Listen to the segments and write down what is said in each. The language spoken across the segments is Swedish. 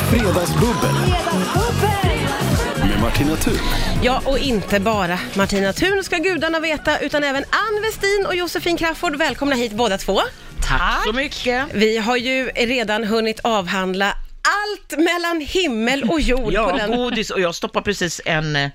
Fredagsbubbel med Martina Thun. Ja, och inte bara Martina Thun ska gudarna veta, utan även Ann Westin och Josefin Crafoord. Välkomna hit båda två. Tack så mycket. Vi har ju redan hunnit avhandla allt mellan himmel och jord. på Ja, den. godis och jag stoppar precis en eh,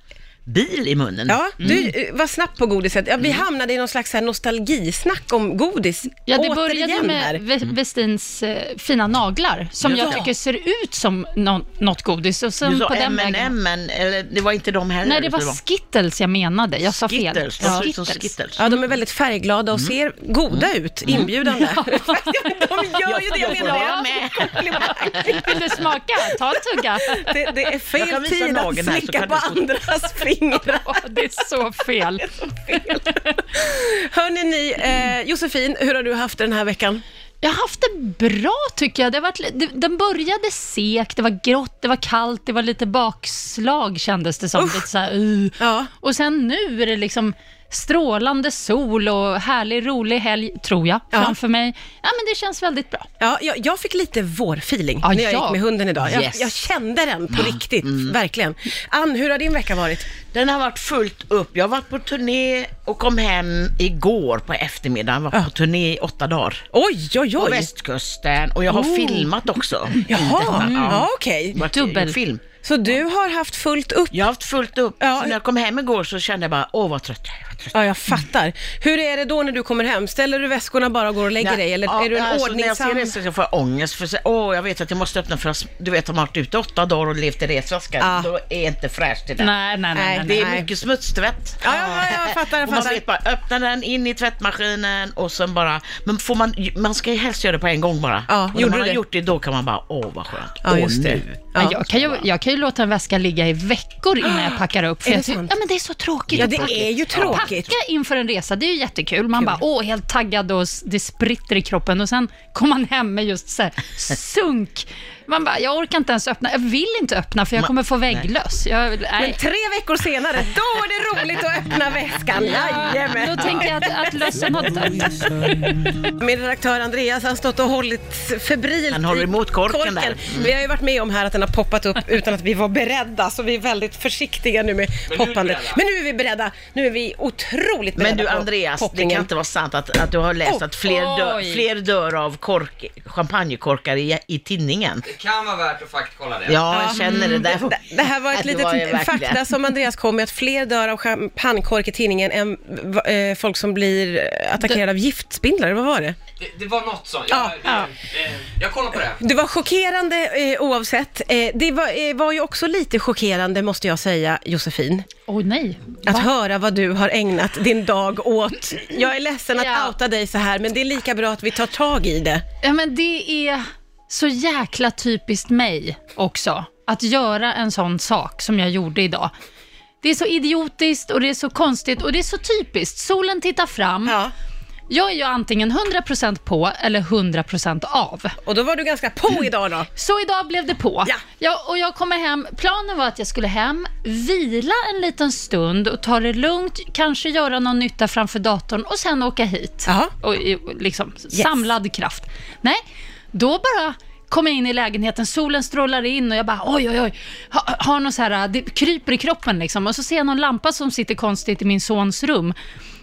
bil i munnen. Ja, Mm. du eh, var snabb på godiset. Ja, vi hamnade i någon slags så här nostalgisnack om godis. Ja, det Återigen började med här. Ve- Westins eh, fina naglar, som Mm. Ja. jag tycker ser ut som nå- något godis. Och Du sen sa på den vägen. M&M, men, eller det var inte de heller. Nej, det var så Skittles jag menade. Jag sa fel. Skittles. De Ja. ser ut som Skittles. Ja, de är väldigt färgglada och Mm. ser goda ut, inbjudande. de gör ju det, jag menar Ja, jag. jag med. Vill du smaka? Ta en tugga. Det, det är Jag kan fel visa tid att nageln här, så slicka kan på du- andras fingrar. Åh, det är så fel. Hörni ni, eh, Josefin, hur har du haft det den här veckan? Jag har haft det bra tycker jag. Det har varit, li- det- den började sek, det var grått, det var kallt, det var lite bakslag kändes det som. Lite så här, uh. Ja. Och sen nu är det liksom strålande sol och härlig, rolig helg, tror jag, Ja. framför mig. Ja, men det känns väldigt bra. Ja, jag, jag fick lite vårfeeling Ja, när jag Mm. ja. gick med hunden idag. Jag, Yes. jag kände den på riktigt, verkligen. Ann, hur har din vecka varit? Den har varit fullt upp. Jag har varit på turné och kom hem igår på eftermiddagen. Jag var på turné i åtta dagar. Oj, oj, På oj. västkusten och jag har filmat också. Jaha, Mm. ja, okej. Varit egen Dubbel. film. Så du har haft fullt upp? Jag har haft fullt upp. Ja. Så när jag kom hem igår så kände jag bara, åh vad trött jag är. vad trött Ja, jag fattar. Hur är det då när du kommer hem? Ställer du väskorna bara och går och lägger Nej, dig? Eller ja, är du en alltså, När ordningsam... jag ser det så får jag ångest för att åh, jag vet att jag måste öppna för att du vet, de har varit ute åtta dagar och levt i resväskan. Ah. Då är inte fräscht det där. Nej, nej, nej. nej, Det nej. är mycket smutstvätt. Eh, Ja, ja, ja, jag fattar, jag Och man fattar. vet bara, öppna den, in i tvättmaskinen och sen bara, men får man, man ska ju helst göra det på en gång bara. Ja, och när gjorde man du har det? gjort det, då kan man bara, åh vad skönt. Ja, åh, just det. nu. Men jag, kan ju, jag kan ju låta en väska ligga i veckor innan jag packar upp. För Är jag det tycker- sant? ja, men det är så tråkigt. Ja, att det packa. är ju tråkigt. Packa inför en resa, det är ju jättekul. Man bara, åh, helt taggad och s- det spritter i kroppen. Och sen kommer man hem med just så här, sunk. Man bara, jag orkar inte ens öppna. Jag vill inte öppna för jag Ma- kommer få vägglöss. Jag, Men nej. tre veckor senare, då är det roligt att öppna väskan. Då Jajamän. tänker jag att, att lössen har dött. Min redaktör Andreas har stått och hållit febrilt Han håller i emot korken där. Mm. Vi har ju varit med om här att den har poppat upp utan att vi var beredda, så vi är väldigt försiktiga nu med poppandet. Men nu är vi beredda. Nu är vi otroligt beredda Men du på Andreas, det poppningen. kan inte vara sant att, att du har läst Oh, att fler oj. dör, fler dör av kork, champagnekorkar i, i tinningen. Det kan vara värt att faktkolla det. Ja, jag känner det där. Mm. Äh, Det- Det här var ett Det var ju litet verkligen. fakta som Andreas kom med, att fler dör av champagnekork i tidningen än va- eh, folk som blir attackerade av giftspindlar. Vad var det? Det, det var något sånt. Ja, Jag, ja. eh, jag kollar på det. Det var chockerande eh, oavsett. Eh, det var, eh, var ju också lite chockerande, måste jag säga, Josefin, Åh nej. att Va? höra vad du har ägnat din dag åt. Jag är ledsen att Ja. outa dig så här, men det är lika bra att vi tar tag i det. Ja, men det är så jäkla typiskt mig också, att göra en sån sak som jag gjorde idag. Det är så idiotiskt och det är så konstigt och det är så typiskt. Solen tittar fram. Ja. Jag är ju antingen 100% på eller 100% av. Och då var du ganska Mm. på idag då. Så idag blev det på. Ja. Jag, och jag kommer hem, planen var att jag skulle hem, vila en liten stund och ta det lugnt, kanske göra någon nytta framför datorn och sen åka hit. Jaha. Och, i- och liksom samlad kraft. Nej, då bara kom jag in i lägenheten, solen strålar in och jag bara oj, oj, oj. Ha, har någon så här, det kryper i kroppen liksom. Och så ser jag någon lampa som sitter konstigt i min sons rum.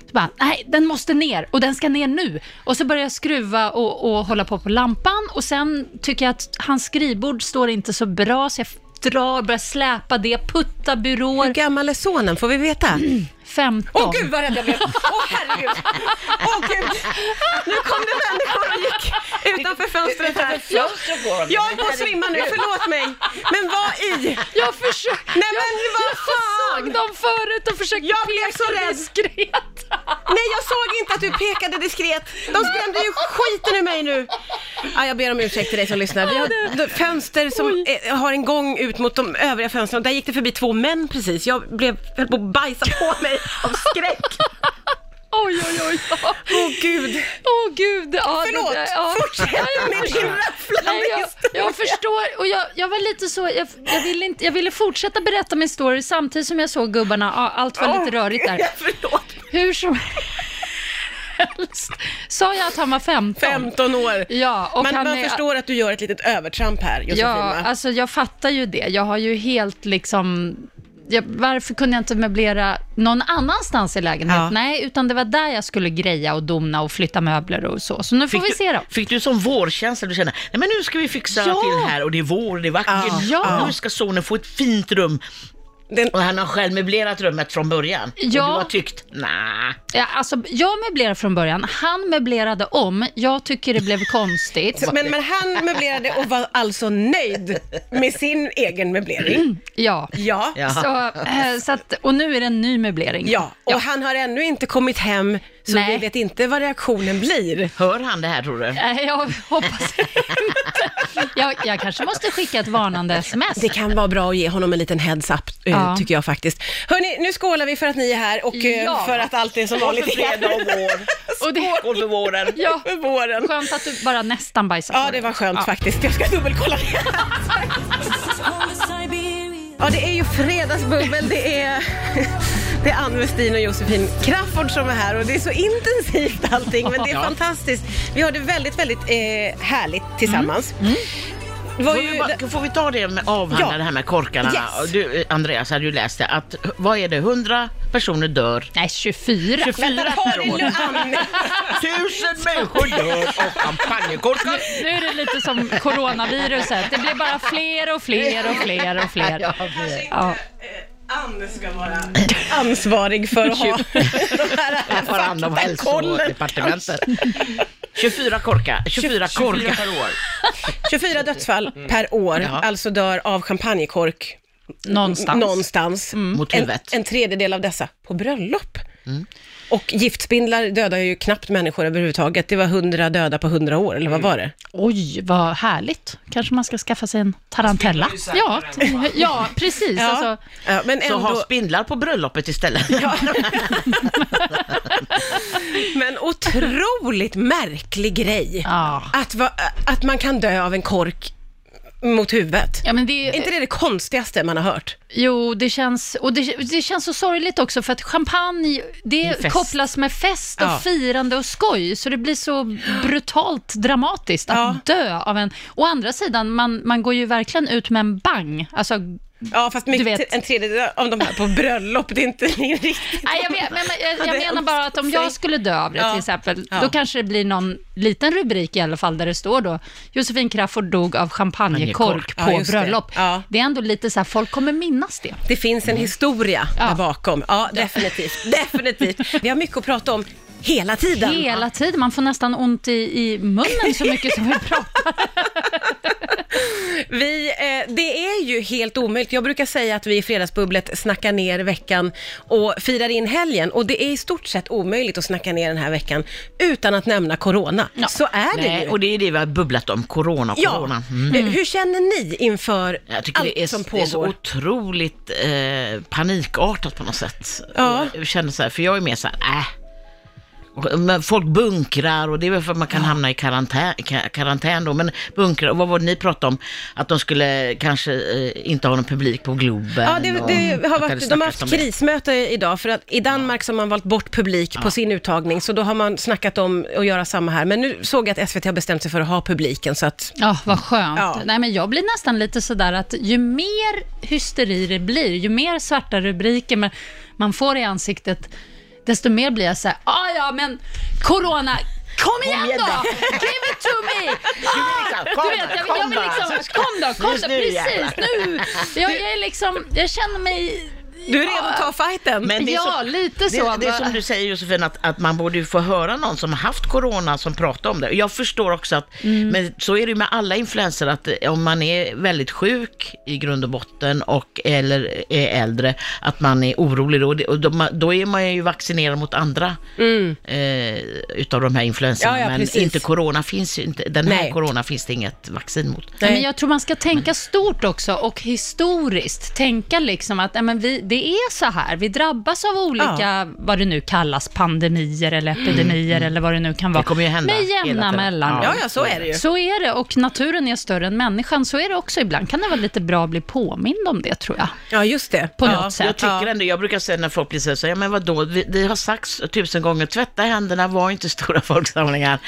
Så bara, nej, den måste ner och den ska ner nu. Och så börjar jag skruva och, och hålla på på lampan och sen tycker jag att hans skrivbord står inte så bra så jag f- drar, börjar släpa det, putta Hur byråer. gammal är sonen? Får vi veta? Mm. 15. Åh gud vad rädd jag blev! Åh herregud! Åh gud! Nu kom det människor och gick utanför fönstret här. Jag är på att svimma nu, förlåt mig. Men vad i? Jag försöker... Nej men vad Jag såg fan! dem förut och försökte Jag blev så peka rädd. diskret. Nej jag såg inte att du pekade diskret. De skrämde ju skiten ur mig nu. Ja, jag ber om ursäkt till dig som lyssnar. Vi har d- fönster som eh, har en gång ut mot de övriga fönstren. Där gick det förbi två män precis. Jag blev, höll på att bajsa på mig av skräck. Oj, oj, oj. Åh Åh gud. oh, gud. Ja, det- Förlåt, ja. fortsätt med din Nej, rafflande jag, jag förstår. Och jag, jag var lite så, jag, jag, ville inte, jag ville fortsätta berätta min story samtidigt som jag såg gubbarna. Ja, allt var lite rörigt där. Förlåt. Hur som helst. Sa jag att han var 15? 15 år. Ja, och man han man är... förstår att du gör ett litet övertramp här, Ja, Josefina. alltså jag fattar ju det. Jag har ju helt liksom... Jag, varför kunde jag inte möblera någon annanstans i lägenheten? Ja. Nej, utan det var där jag skulle greja och dona och flytta möbler och så. Så nu får vi du, se då. Fick du sån vårkänsla? Du känner, nej men nu ska vi fixa Ja. till här och det är vår, det är vackert. Ja. Ja. Nu ska sonen få ett fint rum. Den- Och han har själv möblerat rummet från början. Ja. Och du har tyckt, nej. Ja, alltså, jag möblerade från början, han möblerade om. Jag tycker det blev konstigt. Men, men han möblerade och var alltså nöjd med sin egen möblering. Ja. Ja. Ja. Så, eh, så att, och nu är det en ny möblering. Ja, och han har ännu inte kommit hem, så Nej. vi vet inte vad reaktionen blir. Hör han det här tror du? Nej, eh, jag hoppas inte. Jag, jag kanske måste skicka ett varnande sms. Det kan vara bra att ge honom en liten heads up, eh, Ja. tycker jag faktiskt. Hörni, nu skålar vi för att ni är här och eh, Ja. för att allt är som Skål för vanligt igen. fredag och vår. Och det, Skål för våren. ja, För våren. skönt att du bara nästan bajsade Ja, på det dig. var skönt faktiskt. Jag ska dubbelkolla det. Ja, det är ju fredagsbubbel. Det är, det är Ann Westin och Josefin Crafoord som är här och det är så intensivt allting, men det är fantastiskt. Vi har det väldigt, väldigt eh, härligt Mm. tillsammans. Det var Får ju- vi, bara, får vi ta det med avhandla Ja. det här med korkarna? Yes. Du, Andreas hade ju läst det att, vad är det, 100 personer dör? Nej, 24. 24 per Har år. du Ann? Tusen människor dör av champagnekorkar. Nu är det lite som coronaviruset. Det blir bara fler och fler och fler och fler. Ja, Ja. Ann ska vara ansvarig för att ha de här Jag tar hand om faktakollen. hälsodepartementet. 24 korkar. 24 24 korkar. per år. 24 dödsfall per år, Ja. alltså dör av champagnekork Någonstans. någonstans. Mot Mm, En, huvudet. en tredjedel av dessa på bröllop. Och giftspindlar dödar ju knappt människor överhuvudtaget. Det var 100 döda på 100 år, eller vad var det? Oj, vad härligt. Kanske man ska skaffa sig en tarantella. Det är ju Ja, säkrare än ja precis. Alltså, Ja, men Så ha ändå, spindlar på bröllopet istället. men otroligt märklig grej. Ja. Att, va, att man kan dö av en kork mot huvudet. ja, men det, Är inte det det konstigaste man har hört? Jo, det känns, och det, det känns så sorgligt också för att champagne, är det fest. kopplas med fest och Ja. firande och skoj, så det blir så brutalt dramatiskt att Ja. dö av en... Å andra sidan, man, man går ju verkligen ut med en bang. Alltså, Ja, fast mycket, vet. en tredjedel av de här på bröllop, det är inte riktigt... nej, jag, vet, men, men, jag, det jag är menar bara att om jag sig. skulle dö av det Ja. till exempel, Ja. då kanske det blir någon liten rubrik i alla fall där det står då, Josefin Crafoord dog av champagnekork Ja, på just det. bröllop. Ja. Det är ändå lite så här, folk kommer minnas det. Det finns en historia Ja. där bakom. Mm. Ja, definitivt. definitivt. Vi har mycket att prata om hela tiden. Hela tiden, man får nästan ont i, i munnen så mycket som vi pratar. Vi, eh, det är ju helt omöjligt. Jag brukar säga att vi i Fredagsbubblet snackar ner veckan och firar in helgen. Och det är i stort sett omöjligt att snacka ner den här veckan utan att nämna corona. Så är det Nej, ju. och det är det vi har bubblat om, corona och ja. corona. Eh, Hur känner ni inför Jag tycker allt det som är, det är så pågår? otroligt eh, panikartat på något sätt. Ja. Jag känner så här, för jag är mer så här, äh. Och- eh, men Folk bunkrar och det är väl för att man kan hamna i karantän, ka- karantän då, men bunkrar, och vad var det ni pratade om? Att de skulle kanske eh, inte ha någon publik på Globen. Ja, det, och- det har varit, att de har snackats haft om det. krismöte idag, för att i Danmark så har man valt bort publik på sin uttagning, så då har man snackat om att göra samma här. Men nu såg jag att SVT har bestämt sig för att ha publiken, så att Ja, vad skönt. Ja. Nej, men jag blir nästan lite sådär att ju mer hysteri det blir, ju mer svarta rubriker man, man får i ansiktet, desto mer blir jag såhär, ah, ja men corona, kom igen igen då! då." Give it to me! Ah, Kom du vet, då, jag, vill- kom jag vill då, liksom, alltså. kom då, kom Just då, nu, precis jävlar. nu! Jag, jag är liksom, jag känner mig, du är redo att ta fighten. Men det är ja, lite så. Det, det är som du säger Josefin, att, att man borde ju få höra någon som har haft corona som pratar om det. Jag förstår också att, men så är det ju med alla influenser, att eh, om man är väldigt sjuk i grund och botten och eller är äldre, att man är orolig då. Och det- Och då, då är man ju vaccinerad mot andra eh, utav de här influenserna. Ja, ja, men precis. inte corona finns ju inte, den här Nej. corona finns det inget vaccin mot. Nej. Men jag tror man ska tänka stort också och historiskt. Tänka liksom att nej, men vi, det det är så här. Vi drabbas av olika, vad det nu kallas, pandemier eller epidemier eller vad det nu kan vara. kommer ju hända Med hela jämna tiden. mellanrum. Ja, ja, så är det ju. Så är det och naturen är större än människan. Så är det också. Ibland kan det vara lite bra att bli påmind om det tror jag. Ja, just det. På ja. något sätt. Jag tycker tycker ja. ändå, jag brukar säga när folk blir så här, så här, ja men vadå, det, det har sagts tusen gånger, tvätta händerna var inte stora folksamlingar.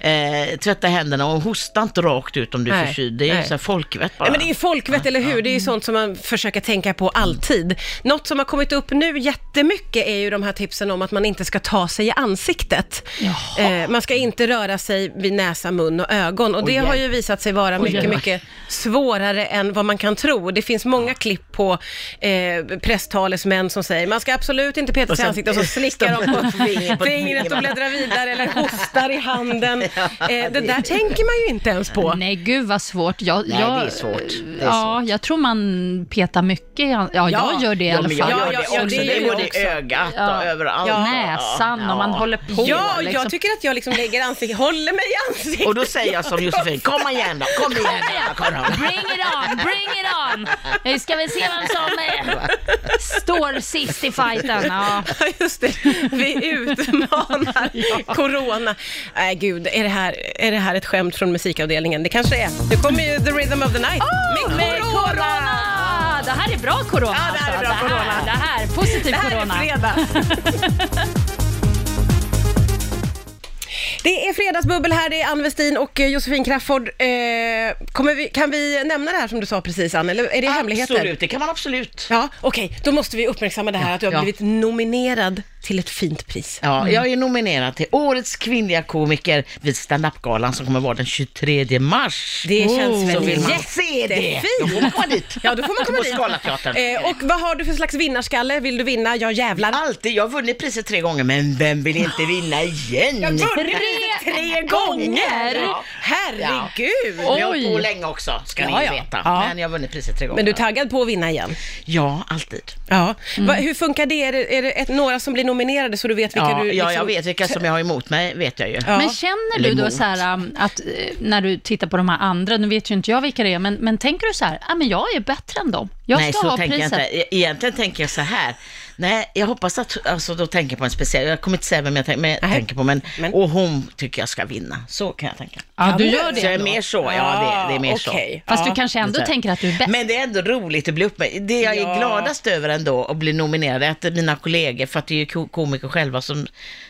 Eh, tvätta händerna och hosta inte rakt ut om du är Nej, förkyld, det är ju nej. så här folkvett bara. Nej, men det är ju folkvett, eller hur? Det är ju sånt som man försöker tänka på alltid. Något som har kommit upp nu jättemycket är ju de här tipsen om att man inte ska ta sig i ansiktet. Jaha. Eh, man ska inte röra sig vid näsa, mun och ögon. Och det har ju visat sig vara mycket, jävlar. mycket svårare än vad man kan tro. Det finns många klipp på eh, presstalesmän som säger man ska absolut inte peta Och sig i sen- ansiktet och så slickar de stoppar på fingret på fingret och fingrarna. bläddrar vidare eller hostar i handen. Eh, det där tänker man ju inte ens på. Nej, gud vad svårt. Jag, Nej, jag, det är svårt. Det är ja, svårt. jag tror man petar mycket. i an- Ja, ja jag gör det i alla men jag fall. gör det Ja, också, ja, ja, det det gör är jag både i också. ögat Ja. och överallt. Ja, Ja. näsan och man håller på. Ja, och liksom. jag tycker att jag liksom lägger ansiktet, håller mig i ansiktet. Och då säger jag som Josefin, kom igen då, kom igen då, kom igen. Bring it on, bring it on! Nu ska vi se vem som eh, står sist i fighten. Ja. Ja, just det. Vi utmanar corona. Nej, gud, är det, här, är det här ett skämt från musikavdelningen? Det kanske är. Nu kommer ju The Rhythm of the Night med corona! Ah, det här är bra corona. Ja, det här är alltså. bra corona. Det här, positiv Det här corona. är fredag. Det är fredagsbubbel här, det är Ann Westin och eh, Josefin Crafoord. Eh, kommer vi, kan vi nämna det här som du sa precis Ann, eller är det hemligheter? Absolut, det kan man absolut. Ja, okej. Då måste vi uppmärksamma det här att du har Ja. blivit nominerad till ett fint pris. Ja, jag är nominerad till Årets kvinnliga komiker vid standup-galan som kommer vara den 23 mars. Oh, Det känns väl så vill man jättefint. se det. Då får man komma dit. Ja, då får man komma På dit. Scalateatern. Eh, och vad har du för slags vinnarskalle? Vill du vinna? Jag jävlar. Alltid, jag har vunnit priset tre gånger, men vem vill inte vinna igen? Jag Ja. vunnit Tre tre gånger! Ja. Herregud! Men Jag har hållit på Oj. länge också, ska ni Ja, ju ja. veta. Ja. Men jag har vunnit priset tre gånger. Men du är taggad på att vinna igen? Ja, alltid. Ja. Va, hur funkar det? Är det, är det ett, några som blir nominerade så du vet vilka Ja, du... ja, jag liksom- vet vilka som jag har emot mig, vet jag ju. Ja. Men känner du Eller då mot. så här um, att eh, när du tittar på de här andra, nu vet ju inte jag vilka det är, men, men tänker du så här, ah, men jag är bättre än dem. Jag nej, ska så ha tänker priset. jag inte. E- Egentligen tänker jag så här. Nej, jag hoppas att, alltså då tänker jag på en speciell, jag kommer inte säga vem jag tänker, men jag Nej. tänker på, men, Men- och hon tycker jag ska vinna. Så kan jag tänka. Ja, du gör Så jag det. är ändå. mer så, ja det, det är mer så. okej. Fast Ja. du kanske ändå Så här. tänker att du är bäst. Men det är ändå roligt att bli uppe. Det jag Ja. är gladast över ändå att bli nominerad är att mina kollegor, för att det är ju ko- komiker själva som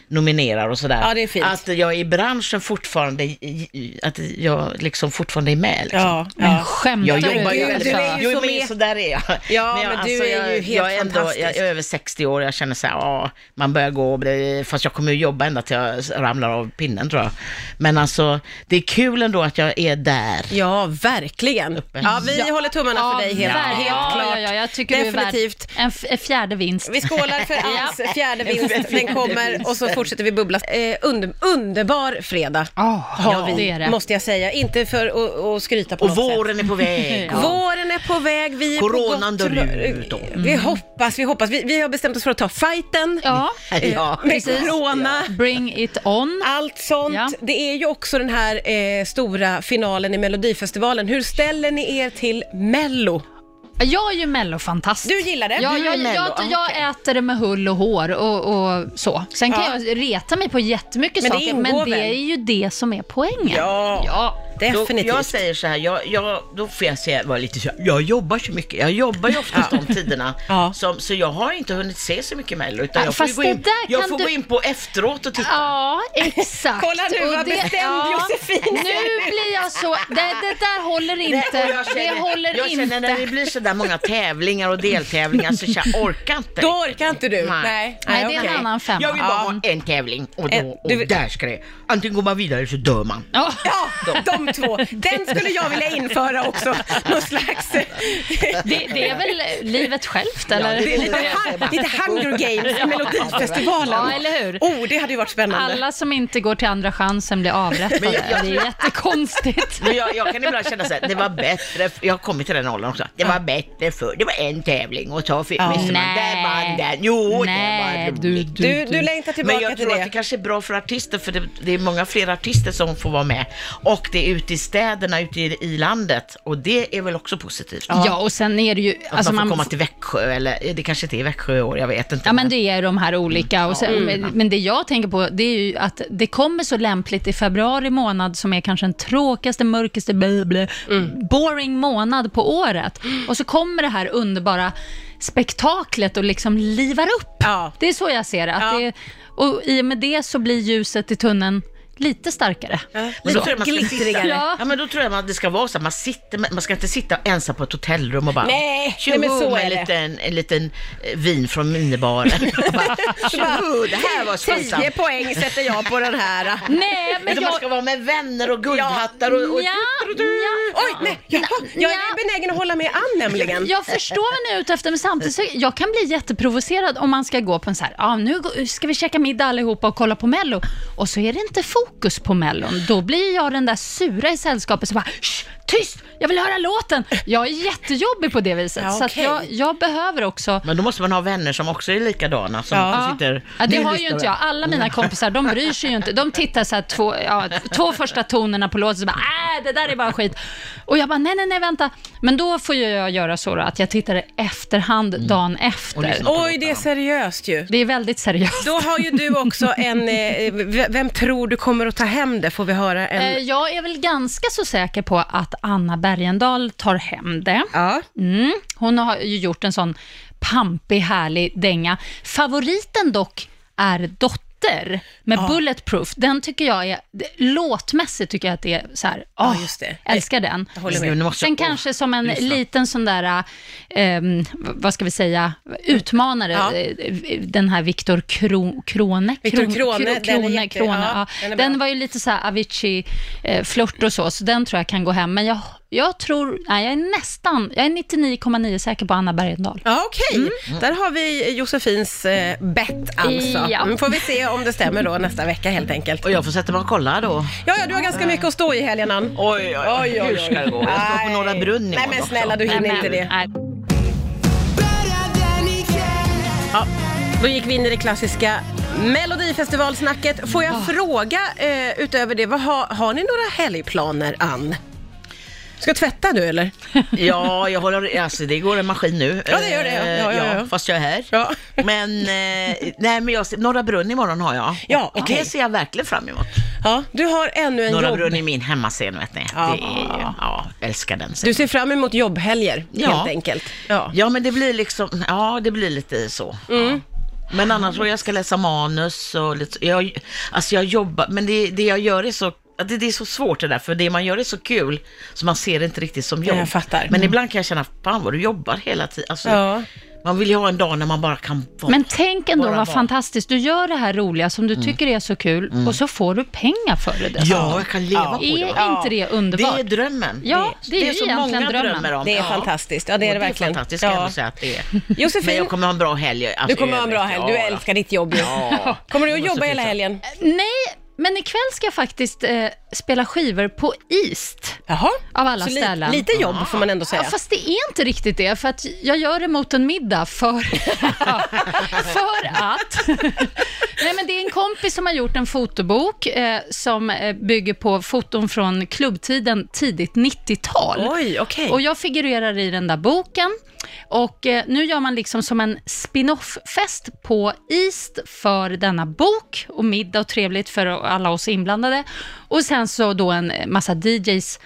nominerar och sådär. Ja, det är fint. Att jag i branschen fortfarande, i- i- att jag liksom fortfarande är med liksom. Ja, ja. Men skämtar Jag du? jobbar ju Gud, väldigt Mm. du är vad- ju Jo, som men är- så där är jag. Ja, men jag- du är ju helt jag är ändå, fantastisk. Jag är över 60 år och jag känner så här, ja, man börjar gå och bli, fast jag kommer ju jobba ända till jag ramlar av pinnen tror jag. Men alltså, det är kul ändå att jag är där. Ja, verkligen. Ja, vi håller tummarna för dig helt, ja, helt ja, klart. Ja, ja, jag tycker Definitivt. du är värd en, f- en fjärde vinst. Vi skålar för Anns fjärde vinst. Den kommer och så fortsätter vi bubbla. Eh, under, underbar fredag har vi, det är det. måste jag säga. Inte för att- att skryta på Och något sätt. våren är på väg. Ja. Våren är på väg. Vi är på Coronan gott dör humör. ut då. Mm. Vi hoppas, vi hoppas. Vi, vi har bestämt oss för att ta fighten Eh, Ja, Ja. med corona. bring it on. Allt sånt. Ja. Det är ju också den här eh, stora finalen i Melodifestivalen. Hur ställer ni er till Mello? Jag är ju mellofantast. Du gillar det? Ja, Du är jag, mello. jag, jag äter det med hull och hår och, och så. Sen kan Ja. jag reta mig på jättemycket Men det saker, ingår men det väl? är ju det som är poängen. Ja. ja. Definitivt. Då, jag säger så här, jag, jag, då får jag säga, vara lite, så- jag jobbar så mycket, jag jobbar ju oftast de tiderna, Ja. Ah, som, så jag har inte hunnit se så mycket Mello, utan Ja, jag får, ju fast gå det in, där jag kan får du- gå in på efteråt och titta. Ja, exakt. Kolla nu Och vad bestämd Josefin Nu blir jag så... Det, det där håller inte. Nej, och jag känner, det håller jag inte. känner när det blir så där många tävlingar och deltävlingar så jag orkar inte. Då orkar inte du. Nej, Nej. Nej, det är okej. en annan femma. jag vill bara Ja. Eh, ha en tävling och, En- då, och du- där ska det, antingen går man vidare så dör man. Ja. Ja, de två. Den skulle jag vilja införa också. Någon slags... Det, det är väl livet självt, Ja, eller? det Det är lite, hu- lite Hunger Games i Melodifestivalen. Ja, eller hur? Oh, det hade ju varit spännande. Alla som inte går till andra chansen blir Men avrättade. jag- jag- Det är jättekonstigt. Men jag, jag kan ibland känna så här, det var bättre, f- jag har kommit till den åldern också, det var bättre förr, det var en tävling och så fick missade man, där vann den, jo Nej, det var du, roligt. du, Du, du längtar Men tillbaka jag till tror att det det. kanske är bra för artister, för det, det är många fler artister som får vara med. Och det är ut i städerna ute i, i landet och det är väl också positivt. Ja, och sen är det ju... alltså Att man får komma till Växjö eller eh, det kanske inte är Växjö i år, jag vet inte. Ja, men det är de här olika. Och sen, Mm. men, men det jag tänker på, det är ju att det kommer så lämpligt i februari månad, som är kanske den tråkigaste, mörkaste, blä, blä, Mm. boring månad på året. Och så kommer det här underbara spektaklet och liksom livar upp. Ja. Det är så jag ser det. Att Ja. det och i och med det så blir ljuset i tunneln lite starkare. Men då tror jag man ska glittrigare. sitta- Ja. Ja, men då tror jag man, det ska vara så att man sitter, med- man ska inte sitta ensam på ett hotellrum och bara Nej, "Tjoho", nej, men så med är en det. liten, en liten eh, vin från minibaren. Och bara, "Tjoho, det här var smittsamt. 10 poäng sätter jag på den här. Nej, men Men jag... man ska vara med vänner och guldhattar och, och Ja, ja. Oj, nej, jag, jag är benägen att hålla med Ann nämligen. Jag förstår vad ni är ute efter, men samtidigt så jag kan bli jätteprovocerad om man ska gå på en så här, ja ah, nu gå- ska vi käka middag allihopa och kolla på Mello, och så är det inte fokus på Mellon. Då blir jag den där sura i sällskapet som bara, "Shh, tyst, jag vill höra låten. Jag är jättejobbig på det viset, Ja, så att okej. jag, jag behöver också Men då måste man ha vänner som också är likadana som Ja. också sitter... Ah. Ja, det har ju inte jag. Alla Mm. mina kompisar, de bryr sig ju inte. De tittar så här två, ja, två första tonerna på låten och så bara, äh, det där är bara skit. Och jag bara, nej, nej, nej, vänta. Men då får ju jag göra så då, att jag tittar i efterhand dagen Mm. Och efter. lyssnar. Oj, det är seriöst ju. Det är väldigt seriöst. Då har ju du också en, eh, v- vem tror du kommer att ta hem det? Får vi höra Eh, en? Jag är väl ganska så säker på att Anna Bergendahl tar hem det. Ja. Mm. Hon har ju gjort en sån pampig, härlig dänga. Favoriten dock är Dotter med Bulletproof. Den tycker jag är, det- låtmässigt tycker jag att det är så här, Ja, åh, just det. älskar den. håller Nu med. måste Sen jag- kanske som en lyssna. liten sån där, ehm, v- vad ska vi säga, utmanare, Ja. eh, den här Viktor Kro, Krone. Viktor Kron- Krone, Kro- den är jätte- ja, Krone, den ja. är Den bra. var ju lite så här Avicii-flört och så, så den tror jag kan gå hem. Men jag, jag tror, nej jag är nästan, jag är 99,9 säker på Anna Bergendahl. Ja, okej. Mm. Mm. Där har vi Josefins eh, bett alltså. Ja. Mm, Får vi se om det stämmer då nästa vecka helt enkelt. Och jag får sätta mig och kolla då. Ja, ja, du har ganska mycket att stå i helgen Ann. Oj, oj, Oj, oj, Hur ska det gå? Jag ska på Nej. Norra Brunn Nej imorgon men också. snälla, du hinner Nej, inte men- det. nej. Då gick vi in i det klassiska Melodifestivalsnacket. Får jag fråga eh, utöver det, vad har, har ni några helgplaner Ann? Ska tvätta nu eller? Ja, jag håller, alltså det går en maskin nu. Ja, det gör det, ja. Ja, ja, Eh, ja. Fast jag är här. Ja. Men, eh, nej men jag, ser- Norra Brunn imorgon har jag. Ja, Och okej. Det ser jag verkligen fram emot. Ja, du har ännu en Norra jobb. Brunn är min hemmascen vet ni. Ja. Det är ju, ja, jag älskar den. Du ser fram emot jobbhelger Ja. helt enkelt. Ja. Ja, men det blir liksom, ja det blir lite så. Mm. Ja. Men annars så jag ska läsa manus och lite, jag, alltså jag jobbar, men det, det jag gör är så, det, det är så svårt det där, för det man gör är så kul, så man ser det inte riktigt som jobb. jag fattar. Mm. Men ibland kan jag känna, fan vad du jobbar hela tiden. Alltså, Ja. Man vill ju ha en dag när man bara kan vara. Men tänk ändå Bara vad barn. fantastiskt, du gör det här roliga som du tycker är så kul och så får du pengar för det. Mm. ja, jag kan leva på det. Är inte det Det underbart? är drömmen. Ja, det är ju så egentligen många drömmen. drömmer om. Det är Ja. fantastiskt. Ja, det är Och det verkligen. Det är fantastiskt, kan Ja. jag ändå säga att det är. Josefin, Men jag kommer ha en bra helg. alltså, du kommer ha en i bra övrigt. helg. Du Ja, ja. älskar ditt jobb ju. Ja. Kommer du att Det måste jobba hela fixa. helgen? Nej, men ikväll ska jag faktiskt eh, spela skivor på East. Jaha. Av alla Så li- ställen. lite jobb får man ändå säga. Ja, fast det är inte riktigt det, för att jag gör det mot en middag för, för att... Nej, men det är en kompis som har gjort en fotobok eh, som eh, bygger på foton från klubbtiden tidigt 90-tal. Oj, okej. Och jag figurerar i den där boken. Och eh, nu gör man liksom som en spin-off-fest på East för denna bok och middag och trevligt för alla oss inblandade. Och sen så då en massa DJs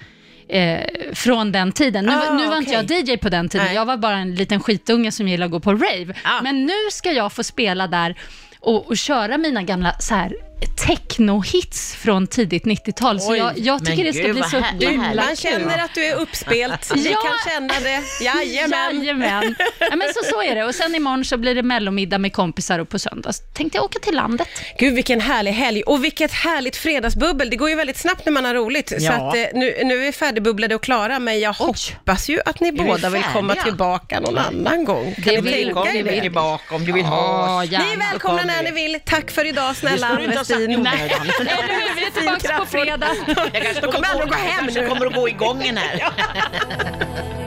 eh, från den tiden. Nu, Ah, nu var inte okej. jag DJ på den tiden, Nej. jag var bara en liten skitunge som gillade att gå på rave. Ah. Men nu ska jag få spela där och, och köra mina gamla så här techno-hits från tidigt 90-tal. Så Oj, jag, jag tycker men det ska gud, bli vad så här- vad himla härligt. Man känner att du är uppspelt. Vi Ja. kan känna det. Jajamän. Jajamän. Ja, men så, så är det. Och sen imorgon så blir det mellomiddag med kompisar och på söndag så tänkte jag åka till landet. Gud vilken härlig helg och vilket härligt fredagsbubbel. Det går ju väldigt snabbt när man har roligt. Så Ja. att, eh, nu, nu är vi färdigbubblade och klara men jag hoppas ju att ni vi båda vill komma färdiga? tillbaka någon annan gång. Kan Det ni vill tänka vi. Kom er vi det? tillbaka om du vill ha oss. Ja, Ni är välkomna när ni vill. Tack för idag snälla skulle du inte ha sagt i Ann-Westin. onödan. Eller hur, vi är tillbaka på fredag. Jag kanske Då kommer alla att gå hem kanske nu. kommer att gå igång en här.